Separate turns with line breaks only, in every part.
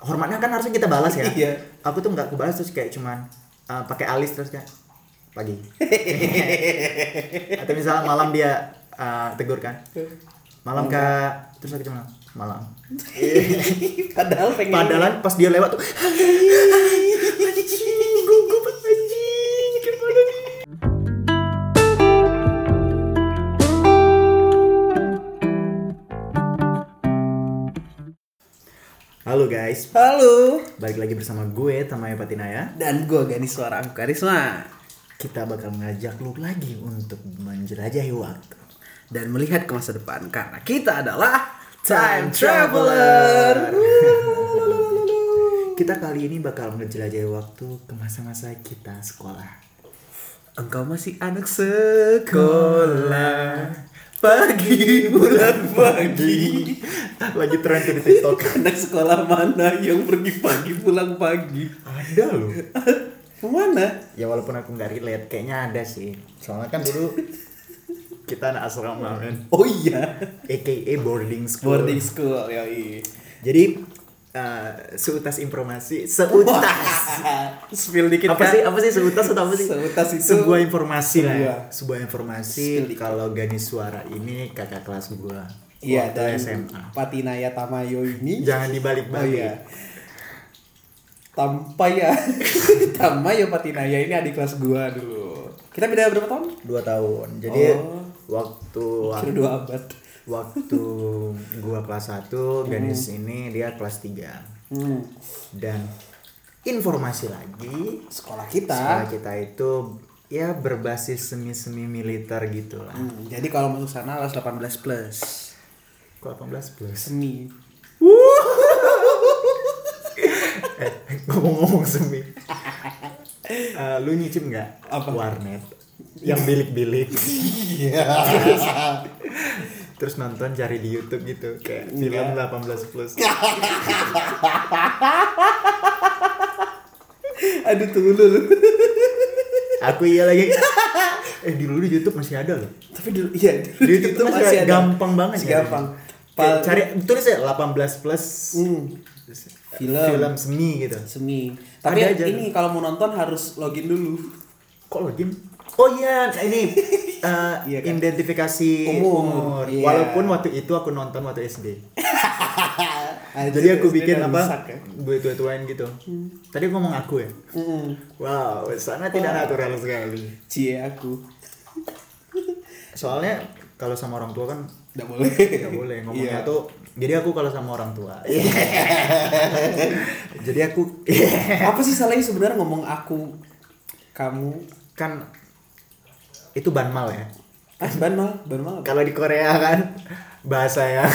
hormatnya kan harusnya kita balas ya
Iya.
aku tuh nggak kebalas terus kayak cuman eh, pakai alis terus kayak pagi atau misalnya malam dia eh, tegur kan malam kak terus aku cuma malam
Padahal pengen.
padahal pas dia lewat tuh anjing gugup anjing gimana nih Halo guys,
Halo.
Balik lagi bersama gue Tamaya Patinaya.
Dan gue Gani Suara Aku Karisma.
Kita bakal ngajak lu lagi untuk menjelajahi waktu.
Dan melihat ke masa depan karena kita adalah time traveler.
Kita kali ini bakal menjelajahi waktu ke masa-masa kita sekolah.
Engkau masih anak sekolah. Pagi bulan pagi.
Lagi tren tuh di TikTok.
Anak sekolah mana yang pergi pagi pulang pagi?
ada loh.
Kemana?
Ya walaupun aku nggak relate, kayaknya ada sih. Soalnya kan dulu kita anak asrama men.
Oh iya,
AKA boarding school.
boarding school yoi.
Jadi eh, seutas informasi, seutas.
Spill dikit
apa
kan?
sih apa sih seutas atau apa sih
Seutas itu-
sebuah informasi lah ya.
Iya.
sebuah informasi
Spill dikit.
kalau Gani Suara ini kakak kelas gua
Iya
Waktu
dan
SMA
Patinaya Tamayo ini
jangan dibalik-balik
Iya. Tampaya Tamayo Patinaya ini adik kelas gua dulu Kita beda berapa tahun?
dua tahun jadi
Oh.
waktu
Kira dua abad
waktu gua kelas 1 Ganis ini dia kelas 3
hmm.
dan informasi lagi
Sekolah kita
sekolah kita itu ya berbasis semi-semi militer gitu lah
Hmm, Jadi kalau masuk sana harus 18 plus
Kok 18 plus
Semi
Eh, ngomong-ngomong semi Eh, lu nyicip nggak
Apa?
warnet yang bilik-bilik
Iya
terus nonton cari di YouTube gitu kayak film 18 plus
Aduh tunggu dulu
aku iya lagi eh dulu di YouTube masih ada loh
Tapi dulu iya dulu
di YouTube, masih, ada. gampang banget
Masih
nyarinya.
gampang ya.
Kayak
Pal-
cari tulis ya 18 plus
Hmm,
film.
Film
seni gitu
Semi Tapi
Ada aja.
ini kalau mau nonton harus login dulu
kok login oh iya ini eh,
Iya kan?
identifikasi
Umur.
umur,
Iya.
walaupun waktu itu aku nonton waktu SD
Ah,
Jadi aku
SD
bikin
udah
apa?
rusak ya.
Gue tua-tuain gitu. Tadi aku ngomong aku ya.
Mm-mm.
Wow, sangat tidak natural sekali.
Hmm. Cie aku
Soalnya kalau sama orang tua kan
Nggak boleh
nggak boleh ngomongnya
Iya.
tuh. Jadi aku kalau sama orang tua. Jadi aku Iya.
Eh, Apa sih salahnya sebenarnya ngomong aku Kamu
kan itu banmal ya.
Ah banmal Banmal apa?
Kalau di Korea kan bahasa yang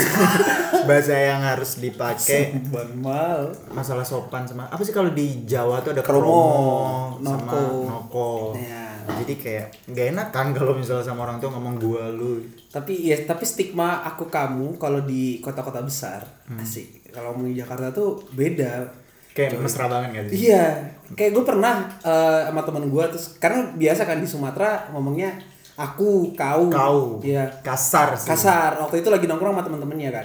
bahasa yang harus dipakai
Eh, Banmal
masalah sopan sama apa sih kalau di Jawa tuh ada
Kromo,
kromo, sama
noko.
noko.
Ya.
Jadi kayak nggak enak kan kalau misalnya sama orang tua ngomong gua lu.
Tapi ya tapi stigma aku kamu Kalau di kota-kota besar Asik Kalau ngomong di Jakarta tuh beda
Kayak mesra banget gak sih?
Iya Kayak gue pernah eh, sama teman gue terus Karena biasa kan di Sumatera ngomongnya Aku, kau
Kau
Iya
kasar sih.
kasar waktu itu lagi nongkrong sama teman-temannya kan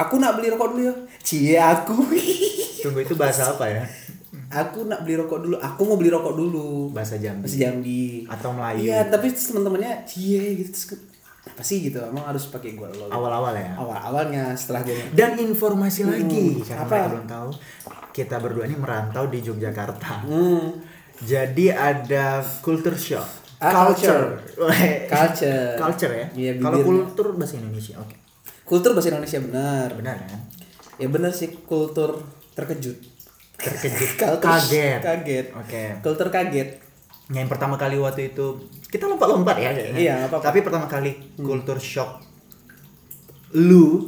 aku nak beli rokok dulu ya cie aku
Tunggu itu bahasa apa ya?
aku nak beli rokok dulu aku mau beli rokok dulu
Bahasa Jambi.
masih Jambi
Atau Melayu.
iya tapi terus teman-temannya cie gitu terus ke- apa sih gitu emang harus pakai gua lo
Awal-awal ya.
awal-awalnya setelah gue
Dan informasi lagi karena
Hmm. apa?
mereka belum tahu kita berdua ini merantau di Yogyakarta.
hmm,
Jadi ada culture shock.
Ah, culture.
culture.
Culture.
Culture ya.
Iya,
kalau
bibirnya.
kultur bahasa Indonesia. Oke.
kultur bahasa Indonesia benar
Benar kan?
ya benar sih kultur terkejut
Terkejut,
Culture-
kaget. Oh, iya.
kaget
Oke. Ya,
kultur kaget
Yang pertama kali waktu itu kita lompat-lompat ya kayaknya.
Iya, nggak apa-apa.
Tapi pertama kali kultur shock lu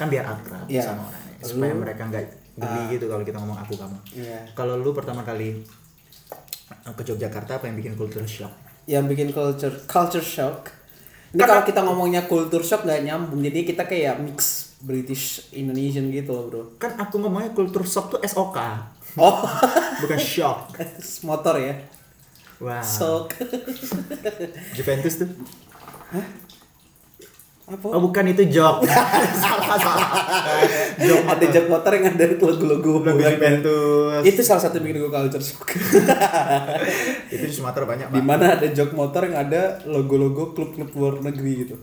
kan biar akrab
Iya.
sama orang ya, supaya mereka nggak geli gitu kalau kita ngomong aku kamu.
Iya.
Kalau lu pertama kali eh, ke Yogyakarta apa yang bikin culture shock?
yang bikin culture culture shock. Ini kalau kita ngomongnya culture shock nggak nyambung, jadi kita kayak mix British Indonesian gitu loh bro.
Kan aku ngomongnya culture shock tuh SOK,
Oh,
bukan shock.
motor ya,
Wah,
shock.
Juventus tuh.
Apa?
Oh bukan itu jok. salah salah. Jok
ada jam motor yang ada logo-logo
Lagu
boy band.
Juventus.
Itu salah satu bikin gue culture shock.
Itu di Sumatera banyak
di
banget.
mana ada jog motor yang ada logo-logo klub-klub luar negeri gitu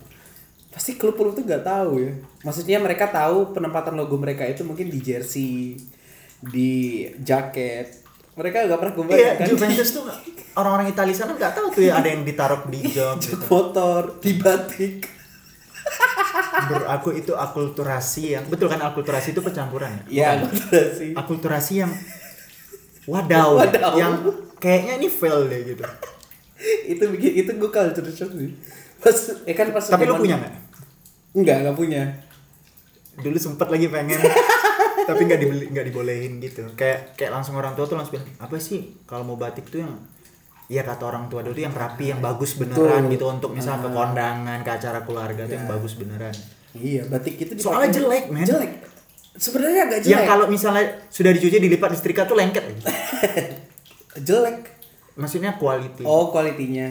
pasti klub-klub itu nggak tahu ya maksudnya mereka tahu penempatan logo mereka itu mungkin di jersey di jaket mereka nggak pernah kan?
Iya,
kebayangkan di
Juventus tuh orang-orang Italia sana nggak tahu tuh ya ada yang ditaruh di jok.
jog motor di batik
Menurut aku itu akulturasi yang betul kan akulturasi itu percampuran
ya betul sih
akulturasi yang wadaw,
Wadaw.
yang kayaknya ini fail deh gitu.
itu bikin itu gue culture shock sih pas ya kan pas
Tapi lu
zaman-
punya nggak?
nggak nggak punya
dulu sempet lagi pengen tapi nggak dibeli nggak dibolehin gitu kayak kayak langsung orang tua tuh langsung bilang apa sih kalau mau batik tuh yang ya kata orang tua dulu tuh yang rapi yang bagus beneran
Betul. Ah.
gitu untuk misal ke kondangan ke acara keluarga tuh yang bagus beneran
iya batik itu dipakai-
Soalnya jelek, men.
jelek sebenarnya agak jelek
yang Ya, kalau misalnya sudah dicuci dilipat setrika tuh lengket
jelek
maksudnya quality
Oh, kualitinya.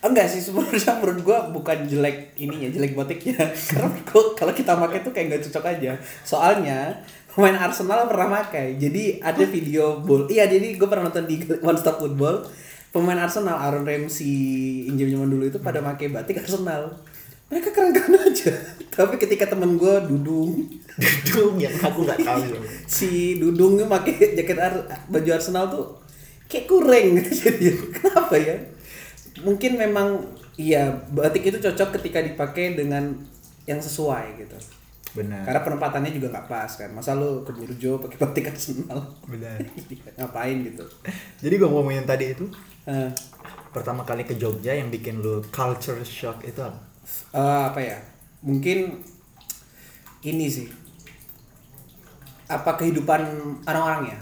Enggak sih sebenarnya menurut gua bukan jelek ininya, jelek batiknya. Karena menurut gua kalau kita pakai tuh kayak nggak cocok aja. Soalnya pemain Arsenal pernah pakai. Jadi ada video bol. Iya, jadi gua pernah nonton di One Stop Football. Pemain Arsenal Aaron Ramsey injam zaman dulu itu pada pakai batik Arsenal. Mereka keren-keren aja. Tapi ketika temen gua Dudung,
dudung yang ya, aku nggak tahu
si Dudungnya pakai jaket Ar- baju Arsenal tuh kayak kurang gitu jadi kenapa ya mungkin memang iya batik itu cocok ketika dipakai dengan yang sesuai gitu
benar
karena penempatannya juga nggak pas kan masa lu ke Burjo pakai batik Arsenal
benar
ngapain gitu
jadi gua mau ngomongin tadi itu
Eh,
pertama kali ke Jogja yang bikin lu culture shock itu apa?
eh, apa ya mungkin ini sih apa kehidupan orang-orangnya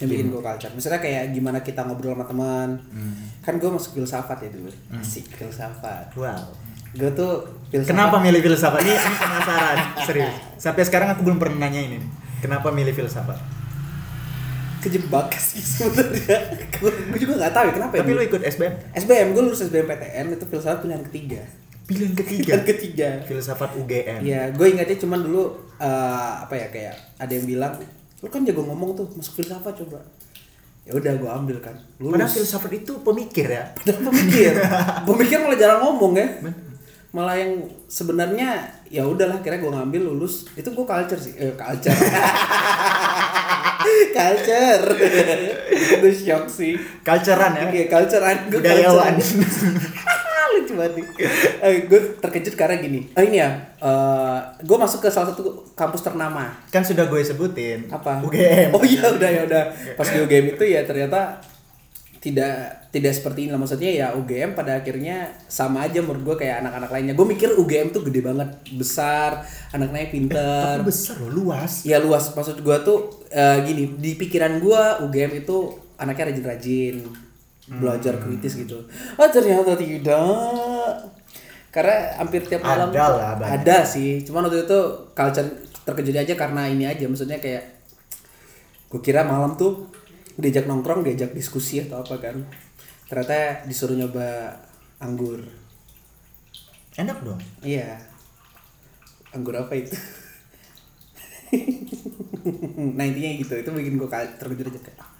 yang bikin
Iya.
gue culture misalnya kayak gimana kita ngobrol sama teman
Hmm.
kan gue masuk filsafat ya dulu asik filsafat
wow
gue tuh filsafat
Kenapa milih filsafat? Ini ini penasaran, serius. Sampai sekarang aku belum pernah nanya ini. nih. Kenapa milih filsafat?
kejebak sih sebenarnya gue juga nggak tahu ya kenapa
Tapi
ya
lu ikut SBM?
SBM gue lulus SBMPTN itu filsafat pilihan ketiga
Pilihan ketiga.
pilihan ketiga
filsafat UGM.
Iya, gue ingatnya cuman dulu eh, apa ya kayak ada yang bilang, lu kan jago ngomong tuh, masuk filsafat coba. Ya udah gue ambil kan.
Padahal
Lulus.
filsafat itu pemikir ya.
Padahal pemikir. pemikir malah jarang ngomong ya. Malah yang sebenarnya ya udahlah kira gue ngambil lulus itu gue culture sih eh, culture culture gue shock sih
Culturean ya.
Iya, culturean gue
Budayawan.
Lucu banget nih. Eh, gue terkejut karena gini. Oh ini ya, eh, gue masuk ke salah satu kampus ternama.
Kan sudah gue sebutin.
Apa?
UGM.
Oh iya, udah ya udah. Pas di UGM itu ya ternyata tidak tidak seperti ini lah maksudnya ya UGM pada akhirnya sama aja menurut gue kayak anak-anak lainnya. Gue mikir UGM tuh gede banget, besar, anak-anaknya
Tapi
pinter.
besar loh, luas.
Ya luas maksud gua tuh eh, gini di pikiran gua UGM itu anaknya rajin-rajin belajar
Hmm.
kritis gitu. Oh ternyata tidak. Karena hampir tiap malam
Ada lah banyak.
ada sih. Cuman waktu itu culture terkejut aja karena ini aja maksudnya kayak gue kira malam tuh diajak nongkrong diajak diskusi atau apa kan ternyata disuruh nyoba anggur
Enak dong.
Iya. Anggur apa itu? nah intinya gitu itu bikin gue terkejut aja kayak, ah,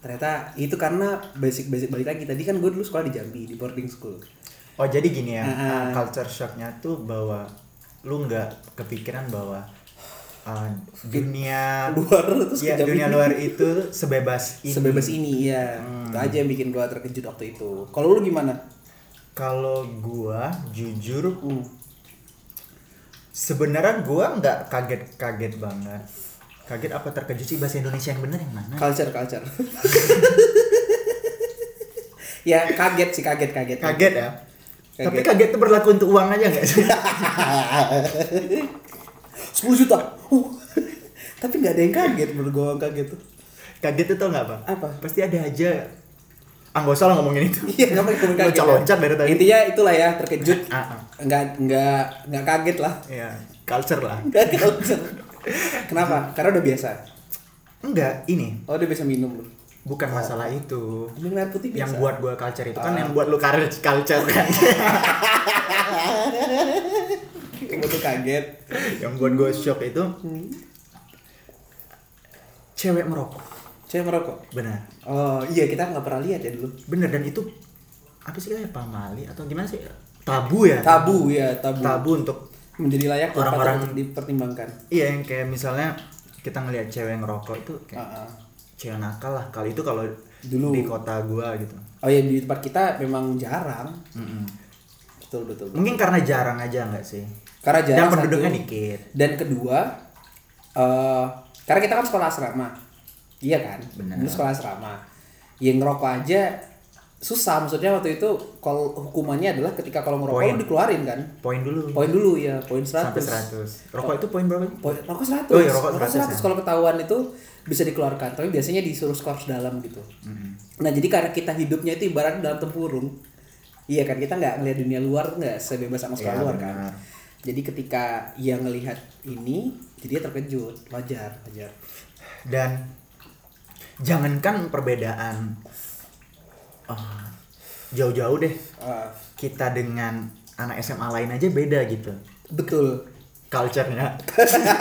ternyata itu karena basic basic balik lagi tadi kan gue dulu sekolah di Jambi di boarding school
Oh jadi gini ya,
Ah, ah.
culture shocknya tuh bahwa lu nggak kepikiran bahwa ah, dunia
luar terus
ya,
ke Jambi
dunia luar itu sebebas ini.
Iya, sebebas ini ya itu aja yang bikin gue terkejut waktu itu kalau lu gimana
Kalau gua jujur
Hmm.
sebenarnya gua nggak kaget-kaget banget. Kaget apa terkejut sih bahasa Indonesia yang bener yang mana?
culture culture ya kaget sih kaget kaget
Kaget ya.
Kaget.
Tapi kaget itu berlaku untuk uang aja nggak sih?
10 juta Uh. tapi nggak ada yang kaget menurut gue kaget tuh
kaget itu tau nggak apa?
Apa?
Pasti ada aja. Ah nggak usah lah ngomongin itu.
Iya, nggak pakai komunikasi.
Loncat-loncat dari tadi.
Intinya itulah ya, terkejut.
Ah, ah.
Nggak nggak nggak kaget lah.
Iya, culture lah.
Nggak kaget. Kenapa? Karena udah biasa.
Enggak, ini
Oh, udah biasa minum loh.
bukan masalah itu
Minum air putih
yang
biasa.
buat gua culture itu kan yang buat lu culture culture kan
Gua tuh gitu, kaget.
yang buat gua shock itu cewek merokok
Cewek merokok.
benar
Oh iya kita nggak pernah lihat ya dulu.
benar dan itu apa sih katanya pamali atau gimana sih tabu ya
Tabu ya tabu.
tabu untuk
Menjadi layak atau
Orang-orang-
patut dipertimbangkan.
iya yang kayak misalnya kita ngelihat cewek ngerokok itu kayak
Ah, ah.
cewek nakal lah kali itu kalau
Dulu.
di kota gua gitu
Oh iya di tempat kita memang jarang.
Hmm.
Betul betul. betul.
mungkin karena jarang aja nggak sih
Karena jarang.
dan penduduknya
satu.
dikit
Dan kedua, eh karena kita kan sekolah asrama, iya kan?
Benar.
Dulu sekolah asrama. Yang ngerokok aja susah. Maksudnya waktu itu kalau hukumannya adalah ketika kalau ngerokok
Poin.
lu dikeluarin kan.
poin dulu
Poin dulu ya, poin 100.
sampai 100 rokok itu poin berapa
Poin, rokok 100.
Oh iya, rokok 100, ya.
Kalau ketahuan itu bisa dikeluarkan, tapi biasanya disuruh skor dalam gitu.
Hmm.
Nah, jadi karena kita hidupnya itu ibarat dalam tempurung. Iya kan, kita nggak ngelihat dunia luar nggak sebebas sama sekolah
Iya,
luar
benar.
kan. Jadi ketika ia ngelihat ini, jadi dia terkejut. Wajar, wajar.
dan jangankan perbedaan eh, jauh-jauh deh
Ah,
kita dengan anak SMA lain aja beda gitu
betul.
culture-nya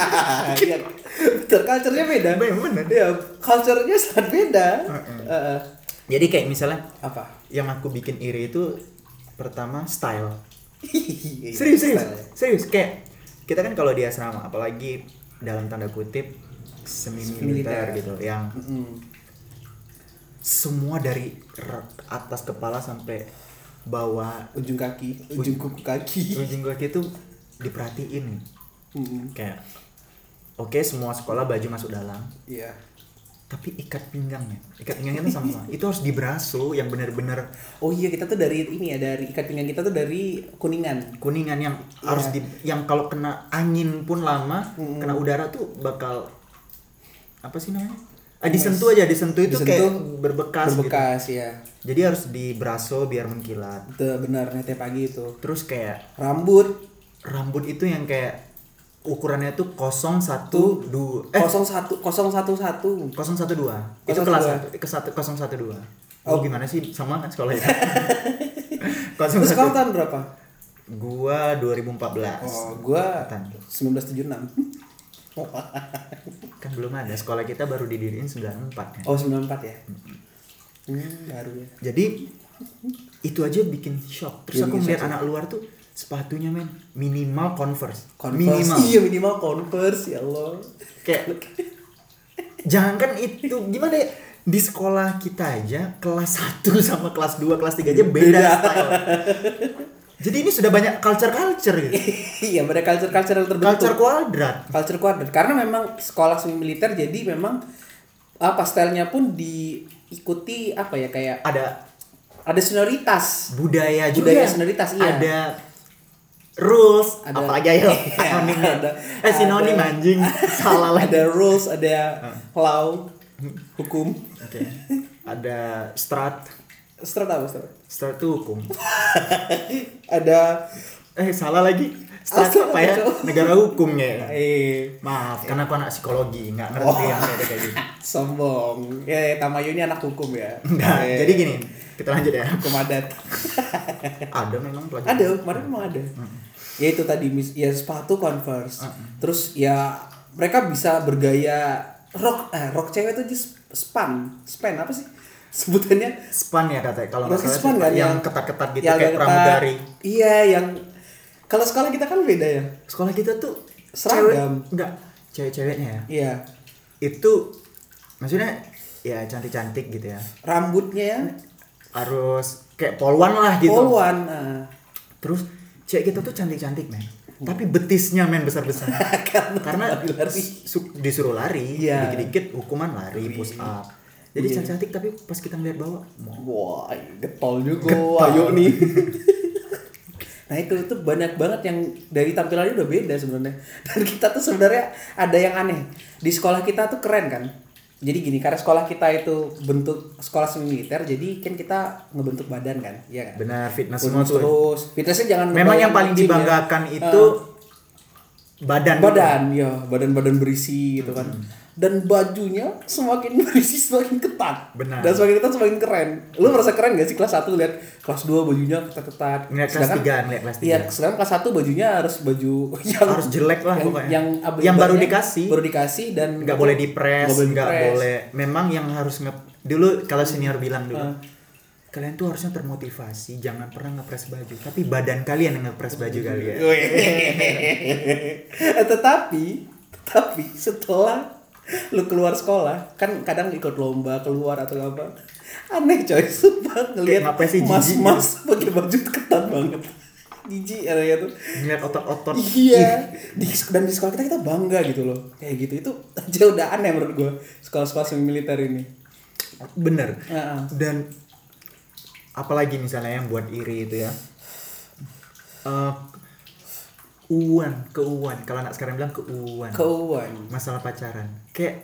Iya. betul, culture-nya beda.
Bener, bener.
Iya, culture-nya sangat beda. Eh, eh,
jadi kayak misalnya
apa?
yang aku bikin iri itu pertama style
Iya,
serius serius
style.
serius kayak kita kan kalau di asrama apalagi dalam tanda kutip semi militer
Militer.
gitu yang
Mm.
semua dari re- atas kepala sampai bawah
ujung kaki, ujung kuku kaki.
ujung kaki itu diperhatiin
Mm,
kayak oke semua sekolah baju masuk dalam
Iya.
tapi ikat pinggangnya ikat pinggangnya itu sama itu harus diberaso yang benar-benar
Oh iya kita tuh dari ini ya dari ikat pinggang kita tuh dari kuningan.
kuningan yang harus di yang kalau kena angin pun lama kena udara tuh bakal apa sih namanya ah, disentuh aja disentuh itu
Disentuh,
kayak berbekas, gitu
Berbekas ya.
jadi harus diberaso biar mengkilat
Itu benar nanti pagi itu.
terus kayak
Rambut
rambut itu yang kayak ukurannya tuh 012 eh
01 011.
012 itu
012.
kelas satu ke satu 012 oh. gimana sih sama kan sekolahnya 01
Terus kau tahun berapa?
gua 2014
Oh, gua
Angkatan.
1976.
kan belum ada sekolah kita baru didiriin 94 kan
Oh, 94 ya. Hmm, baru ya.
jadi itu aja bikin shock terus
Iya,
aku
bikin
melihat
shock
anak luar tuh sepatunya men minimal converse,
Converse.
minimal
Iya, minimal Converse ya Allah.
kayak jangankan itu gimana ya di sekolah kita aja kelas 1 sama kelas 2 kelas 3 aja beda, style jadi ini sudah banyak culture culture gitu
iya, pada culture-culture yang terbentuk.
culture kuadrat
culture kuadrat karena memang sekolah semi militer jadi memang apa stylenya pun diikuti apa ya kayak
ada
ada senioritas
budaya juga ya,
Budaya senioritas, iya.
ada Iya. rules
Ada- Iya,
apalagi ayo anonim
Ada-
ya? eh sinonim
ada-
anjing ya? Hmm. salah lagi
ada rules ada law hukum
Oke. Ada strat,
strat apa strat
strat itu hukum.
ada
Eh salah lagi. Strat
Asal
apa ya?
kacau.
Negara hukumnya. ya.
eh
Maaf, karena aku anak psikologi, nggak ngerti yang kayak kayak gitu.
sombong ya Tamayo ini anak hukum ya
Nah,
Eh,
jadi gini, kita lanjut ya.
hukum adat
Ada memang pelajaran.
ada kemarin memang ada ya itu tadi mis- ya sepatu converse terus ya mereka bisa bergaya rock eh, rock cewek itu just span span apa sih sebutannya
Span ya katanya kalau nggak
Rocky
salah
span
sih,
kan
yang ketat-ketat gitu
yang
kayak
ketat.
pramugari.
iya yang kalau sekolah kita kan beda ya
Sekolah kita tuh
Seragam.
cewek enggak cewek-ceweknya ya.
iya
Itu maksudnya ya cantik-cantik gitu ya.
rambutnya ya
Harus kayak polwan lah gitu.
polwan ah.
Terus cewek kita tuh cantik-cantik men Tapi betisnya men besar-besar
Karena
Karena
lari.
su- su- disuruh lari
Iya.
Dikit-dikit hukuman lari, push up Jadi cantik-cantik tapi pas kita ngeliat bawah mau.
wah getol juga ayo nih nah itu tuh banyak banget yang dari tampilannya udah beda sebenarnya dan kita tuh sebenarnya ada yang aneh di sekolah kita tuh keren kan jadi gini karena sekolah kita itu bentuk sekolah semi militer jadi kan kita ngebentuk badan kan iya kan
Benar fitness
Terus,
semua tuh
terus fitnessnya jangan
Memang
ngebayang
yang paling
anjing ya.
dibanggakan itu Badan Hmm.
badan ya badan-badan berisi gitu kan dan bajunya semakin berisi semakin ketat
Benar.
dan semakin ketat semakin keren lu merasa keren gak sih kelas 1 lihat kelas 2 bajunya ketat-ketat
Ngeliat kelas
Sedangkan-
tiga, ngeliat kelas tiga.
iya sedangkan kelas 1 bajunya harus baju yang
Harus jelek lah
yang,
pokoknya.
yang,
Yang baru
ibaratnya
dikasih.
baru dikasih dan
nggak boleh di press
Nggak boleh
nggak
di-press.
boleh memang yang harus nge dulu kalau senior bilang dulu
Ah.
kalian tuh harusnya termotivasi jangan pernah ngepres baju tapi badan kalian yang ngepres baju ya. kalian
Eh, tetapi tetapi setelah lu keluar sekolah kan kadang ikut lomba keluar atau apa aneh coy sempat
Kayak
ngelihat
ngapain sih,
mas
jijik gitu?
mas pakai baju ketat banget jijik ada gitu
ngeliat otot-otot
iya di, dan di sekolah kita kita bangga gitu loh kayak gitu itu aja udah aneh menurut gua sekolah-sekolah semi militer ini
bener
Heeh.
dan apalagi misalnya yang buat iri itu ya Eh uan keuan kalau anak sekarang bilang keuan
keuan
masalah pacaran kayak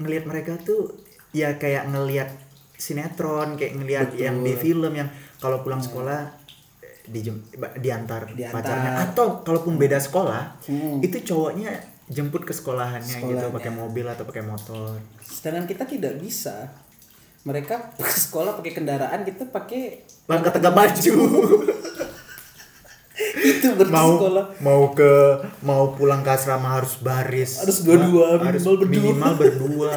ngelihat mereka tuh ya kayak ngelihat sinetron kayak ngelihat yang di film yang kalau pulang sekolah eh, dijem, ba- diantar,
Diantar.
pacarnya atau kalaupun beda sekolah
Hmm.
itu cowoknya jemput ke sekolahannya, gitu
Sekolahnya.
pakai mobil atau pakai motor
sedangkan kita tidak bisa mereka ke sekolah pakai kendaraan kita pakai
langkah tegak baju
itu berarti
mau
sekolah
mau ke mau pulang ke asrama harus baris
Harus dua-dua,
harus
minimal berdua. Iya.
minimal berdua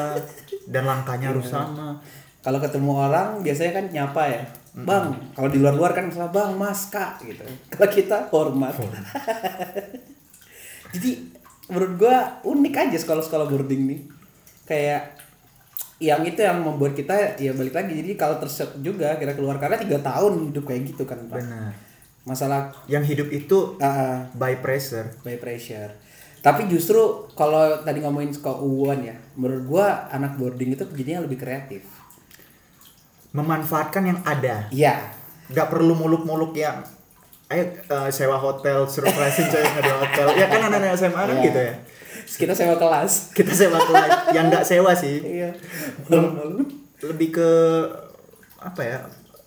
dan langkahnya harus sama
kalau ketemu orang biasanya kan nyapa ya bang kalau di luar luar kan misalnya bang mas kak gitu kalau kita hormat jadi menurut gua unik aja sekolah-sekolah boarding nih kayak yang itu yang membuat kita ya balik lagi jadi kalau terset juga kita keluar karena tiga tahun hidup kayak gitu kan Pak.
benar
masalah
yang hidup itu
ah, ah.
by pressure
by pressure. Tapi justru kalau tadi ngomongin keuangan ya, menurut gua anak boarding itu jadinya lebih kreatif.
memanfaatkan yang ada
Iya.
nggak perlu muluk-muluk yang ayo eh, sewa hotel surprise coy nggak ada hotel ya kan anak-anak SMA kan
Iya.
gitu ya
Kita sewa kelas.
kita sewa kelas yang nggak sewa sih
Iya. Malam-malam.
lebih ke apa ya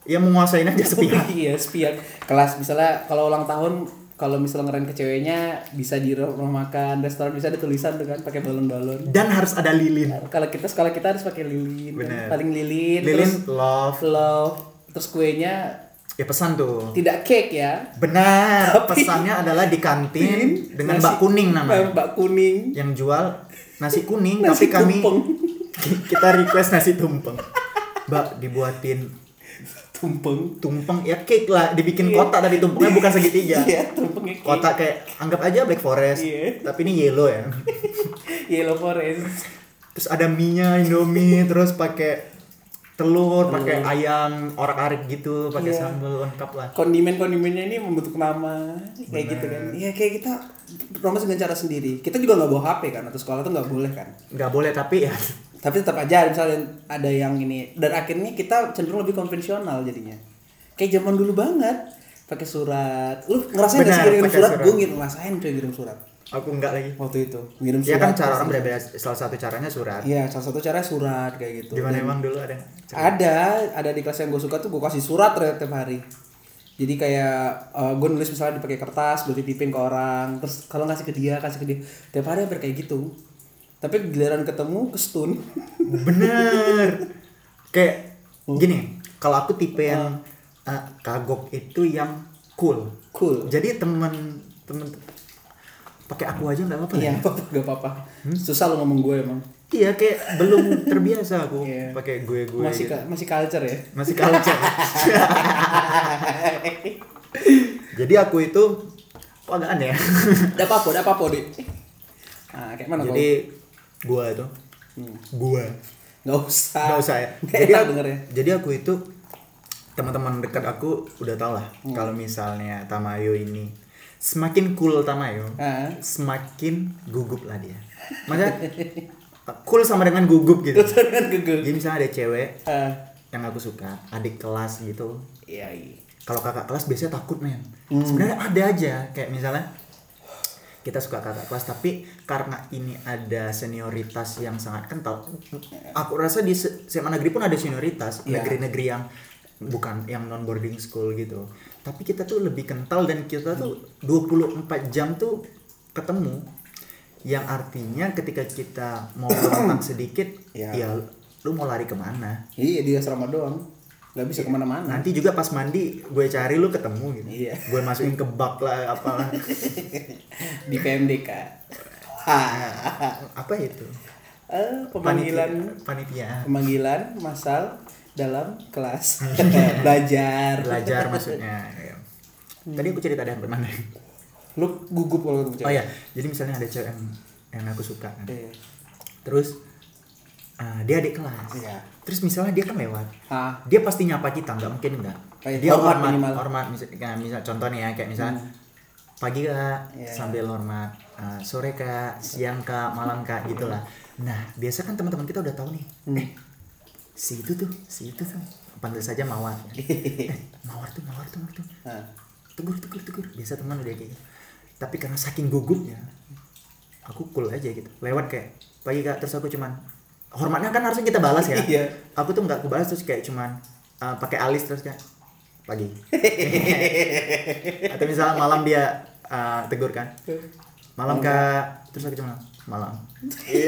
ya menguasain aja sepihak
iya, sepihak. Kelas misalnya kalau ulang tahun kalau misalnya ngeren ke ceweknya bisa di rumah makan, restoran bisa ada tulisan tuh kan pakai balon-balon.
dan harus ada lilin
Kalau kita sekolah kita harus pakai lilin, kan.
Bener.
paling lilin,
lilin
terus
love
love, terus kuenya
ya pesan tuh
tidak cake ya,
benar
Tapi-
pesannya adalah di kantin dengan
Nasi-
mbak kuning namanya
Mbak kuning.
yang jual nasi kuning
Nasi
tapi kami
tumpeng.
kita request nasi tumpeng mbak dibuatin
Tumpeng.
tumpeng ya cake lah dibikin
Iya.
kotak tapi tumpengnya bukan segitiga
Iya, tumpengnya kayak
kotak kayak anggap aja black forest
Iya.
tapi ini yellow ya
Yellow Forest.
terus ada mie nya indomie terus pakai telur pakai ayam orak-arik gitu pakai
Iya.
sambal lengkap lah
Kondimen-kondimennya ini membentuk nama kayak gitu kan. Iya, kayak kita promosi dengan cara sendiri. Kita juga nggak bawa HP kan atau sekolah tuh nggak boleh kan.
nggak boleh tapi ya
Tapi tetap aja misalnya ada yang ini dan akhirnya kita cenderung lebih konvensional jadinya. Kayak zaman dulu banget pakai surat. Lu ngerasain nggak sih
Benar,
ngirim
pakai
surat?
surat.
Gue ngirim ngerasain cuy ngirim surat
aku nggak lagi
waktu itu. Ngirim
ya
surat.
kan cara orang berbeda salah satu caranya surat
Iya, salah satu cara surat kayak gitu.
gimana emang dulu ada
Ada, ada di kelas yang gue suka tuh gue kasih surat tiap tiap hari. Jadi kayak gue nulis misalnya dipakai kertas, gue titipin ke orang, terus kalau ngasih ke dia, kasih ke dia. Tiap hari hampir kayak gitu. Tapi giliran ketemu ke stun.
Bener. Kayak
Oh.
gini, kalau aku tipe yang
Ah.
eh, kagok itu yang cool.
Cool.
Jadi temen temen pakai aku aja nggak apa-apa.
Iya,
ya?
gak apa-apa, gak apa-apa.
Hmm?
Susah lo ngomong gue emang.
Iya kayak belum terbiasa aku
Iya.
pakai gue gue.
Masih ka- masih culture ya.
Masih culture. Jadi aku itu kok agak aneh. ya?
Gak apa-apa, gak apa-apa, Dek. Nah, kayak mana
Jadi gua itu
Hmm.
gua
kau? Gak usah.
nggak usah ya.
Gak enak denger ya.
jadi aku itu teman-teman dekat aku udah tau lah
Hmm.
kalau misalnya Tamayo ini semakin cool Tamayo,
Ah.
semakin gugup lah dia. Maksudnya cool sama dengan gugup gitu.
Terus dengan gegel.
Jadi misalnya ada cewek
Ah,
yang aku suka, adik kelas gitu.
Iya, iya.
Kalau kakak kelas biasanya takut men. Sebenarnya ada aja kayak misalnya kita suka kakak kelas tapi karena ini ada senioritas yang sangat kental aku rasa di se- SMA negeri pun ada senioritas
Iya.
negeri-negeri yang bukan yang non boarding school gitu tapi kita tuh lebih kental dan kita tuh 24 jam tuh ketemu yang artinya ketika kita mau berontak sedikit
Ya.
ya. lu mau lari kemana
Iya di asrama doang. Gak
Iya.
bisa kemana-mana.
nanti juga pas mandi gue cari lu ketemu gitu
Iya.
gue masukin ke bak lah apalah
Di PMDK. Hahaha.
apa itu
Eh, pemanggilan
Panitia- panitiaan
pemanggilan masal dalam kelas belajar.
belajar maksudnya ya. tadi aku cerita ada yang mana
Lu gugup kalau ngomong
oh ya jadi misalnya ada cewek yang, yang aku suka kan.
Iya.
terus eh, dia adik kelas
Iya.
terus misalnya dia kan lewat
Ah,
dia pasti nyapa kita nggak mungkin nggak
Baik,
dia hormat
hormat minimal. Hmm.
hormat misal, kayak misal contohnya ya kayak misal pagi kak
Iya.
sambil hormat Eh, sore kak siang kak malam kak gitulah nah biasa kan teman-teman kita udah tahu nih
Hmm.
eh si itu tuh si itu tuh panggil saja mawar eh, mawar tuh mawar tuh mawar tuh
ah.
tegur tegur tegur biasa teman udah kayak gitu tapi karena saking gugupnya aku cool aja gitu lewat kayak pagi kak terus aku cuman hormatnya kan harusnya kita balas ya
Iya.
aku tuh nggak aku balas terus kayak cuman eh, pakai alis terus kayak pagi atau misalnya malam dia eh, tegur kan malam kak terus aku cuman malam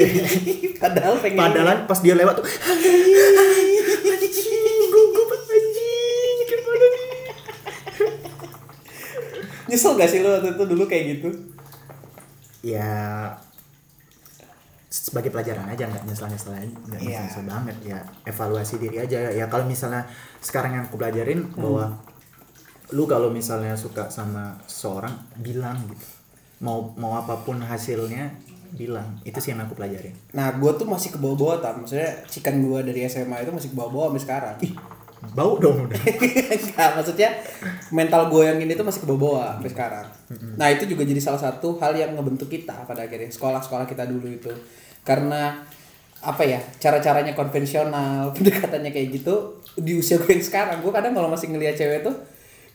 Padahal pengen.
padahal pas dia lewat tuh anjing gugup anjing gimana nih
Nyesel gak sih lu waktu itu dulu kayak gitu?
ya sebagai pelajaran aja nggak nyesel nyesel nggak
Iya.
nyesel nyesel banget ya evaluasi diri aja ya kalau misalnya sekarang yang aku pelajarin
Hmm.
bahwa lu kalau misalnya suka sama seorang bilang gitu mau mau apapun hasilnya bilang itu sih yang aku pelajarin
Nah, gua tuh masih ke bawah-bawah tam. Maksudnya cikan gua dari SMA itu masih ke bawah-bawah sampai sekarang.
bau dong udah
Enggak, maksudnya mental gue yang ini tuh masih ke bawah sampai sekarang. Nah, itu juga jadi salah satu hal yang ngebentuk kita pada akhirnya sekolah-sekolah kita dulu itu. Karena apa ya, cara-caranya konvensional, pendekatannya kayak gitu di usia gue yang sekarang. Gue kadang kalau masih ngeliat cewek tuh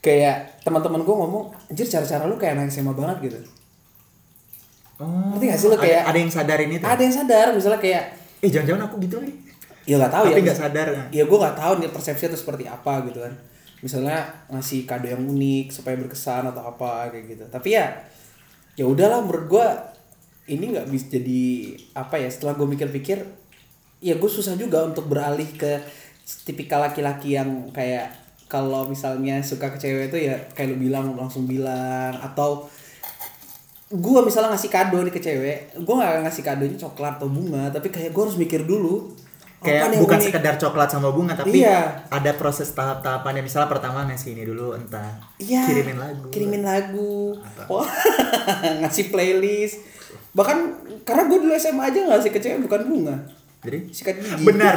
kayak teman-teman gue ngomong, "Anjir, cara-cara lu kayak anak SMA banget gitu."
oh
Ngerti nggak sih lu
ada-
kayak-
ada, yang sadarin itu
Ada yang sadar, misalnya kayak
eh jangan-jangan aku gitu lagi
ya nggak tahu
tapi
ya.
nggak sadar
ya gue nggak tahu nih persepsi itu seperti apa gitu kan misalnya ngasih kado yang unik supaya berkesan atau apa kayak gitu tapi ya ya udahlah menurut gue ini nggak bisa jadi apa ya setelah gue mikir-pikir ya gue susah juga untuk beralih ke tipikal laki-laki yang kayak kalau misalnya suka ke cewek itu ya kayak lu bilang langsung bilang atau gue misalnya ngasih kado nih ke cewek gue nggak ngasih kadonya coklat atau bunga tapi kayak gue harus mikir dulu
kayak
apaan yang
bukan
unik.
sekedar coklat sama bunga tapi
Iya.
ada proses tahap-tahapannya misalnya pertama ngasih ini dulu entah
Iya.
kirimin lagu
Kirimin lagu. Wah, ngasih playlist. Bahkan karena gue dulu SMA aja ngasih ke cewek bukan bunga.
jadi
Sikat gigi.
benar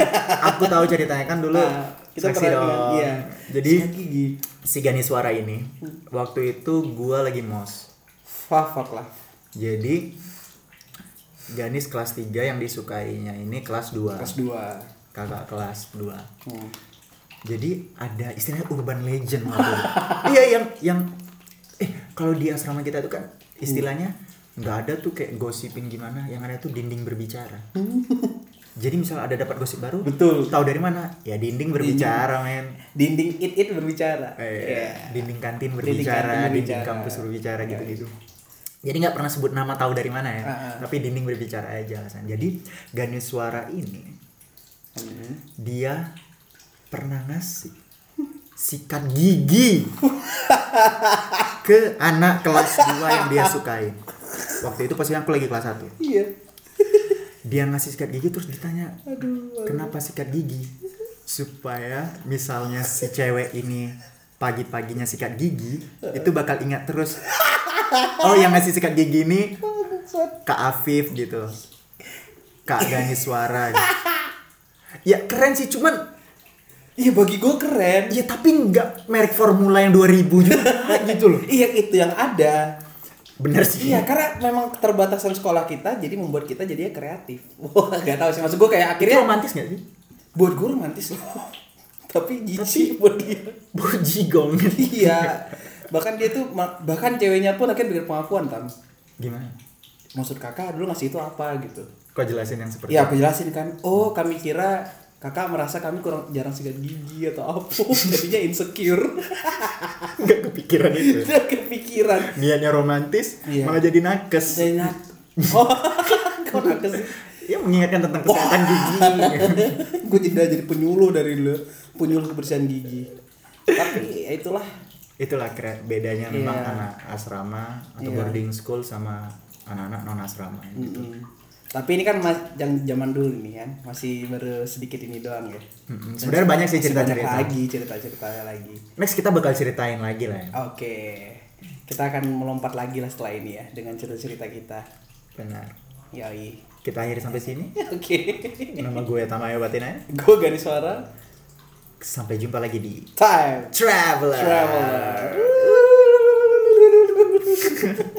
aku tahu ceritanya kan dulu
Nah, kita
saksi
pernah
dong
iya.
jadi
sikat gigi.
si Gani Suara ini waktu itu gua lagi mos
Wah, fuck lah.
jadi Ganis kelas 3 yang disukainya ini kelas 2
Kelas Hmm. 2.
kakak kelas 2 Jadi ada istilahnya urban legend waktu itu. Iya yang yang eh kalau di asrama kita itu kan istilahnya nggak ada tuh kayak gosipin gimana, yang ada tuh dinding berbicara. Jadi misalnya ada dapat gosip baru,
Betul.
Tahu dari mana? Ya dinding berbicara, men.
Dinding it it berbicara.
Eh,
Iya.
Dinding kantin
Dinding
berbicara,
kantin
dinding,
berbicara. Iya,
kampus berbicara gitu-gitu. Jadi nggak pernah sebut nama tahu dari mana ya,
Ah, ah.
tapi dinding berbicara aja alasan. Jadi Ganesh suara ini
Hmm.
dia pernah ngasih sikat gigi ke anak kelas 2 yang dia sukain. Waktu itu posisi aku lagi kelas 1.
Iya.
Dia ngasih sikat gigi terus ditanya, "Kenapa sikat gigi?" Supaya misalnya si cewek ini pagi-paginya sikat gigi, itu bakal ingat terus. Oh, yang ngasih sikat gigi ini Kak Afif gitu. Kak Gani Suara. gitu. Ya keren sih, cuman
Iya bagi gue keren.
Ya tapi nggak merek formula yang 2000 juga gitu loh.
Iya itu yang ada.
Bener sih.
Iya karena memang keterbatasan sekolah kita jadi membuat kita jadinya kreatif. Wah gak tahu sih maksud gue kayak
Itu
akhirnya
romantis nggak sih?
buat gue romantis loh tapi jijik buat dia
Bojigong.
iya bahkan dia tuh ma- bahkan ceweknya pun akhirnya bikin pengakuan tam
Gimana?
maksud kakak dulu ngasih itu apa gitu
Kau jelasin yang seperti
ya aku jelasin kan oh kami kira kakak merasa kami kurang jarang sikat gigi atau apa jadinya insecure
Nggak kepikiran itu.
udah kepikiran
Niatnya romantis,
Iya.
malah jadi nakes.
dan Oh, kok nakes sih?
Ya mengingatkan tentang kesehatan gigi.
Gue tidak jadi penyuluh dari lu, penyuluh kebersihan gigi. Tapi ya itulah
Itulah keren bedanya memang
Iya.
anak asrama atau
Iya.
boarding school sama anak-anak non asrama gitu.
Mm-mm. Tapi ini kan mas, yang zaman dulu nih kan, masih baru sedikit ini doang ya.
Mm-mm. Hmm, Sebenarnya banyak sih
Masih banyak
cerita-cerita.
lagi cerita-cerita lagi.
Next kita bakal ceritain lagi lah ya.
Oke. Kita akan melompat lagi lah setelah ini ya dengan cerita-cerita kita.
Benar.
Yoi.
Kita akhiri sampai sini.
Oke.
Nama gue Tamayo Batinaya.
Gue gani suara.
Sampai jumpa lagi di
Time
Traveler.
traveler.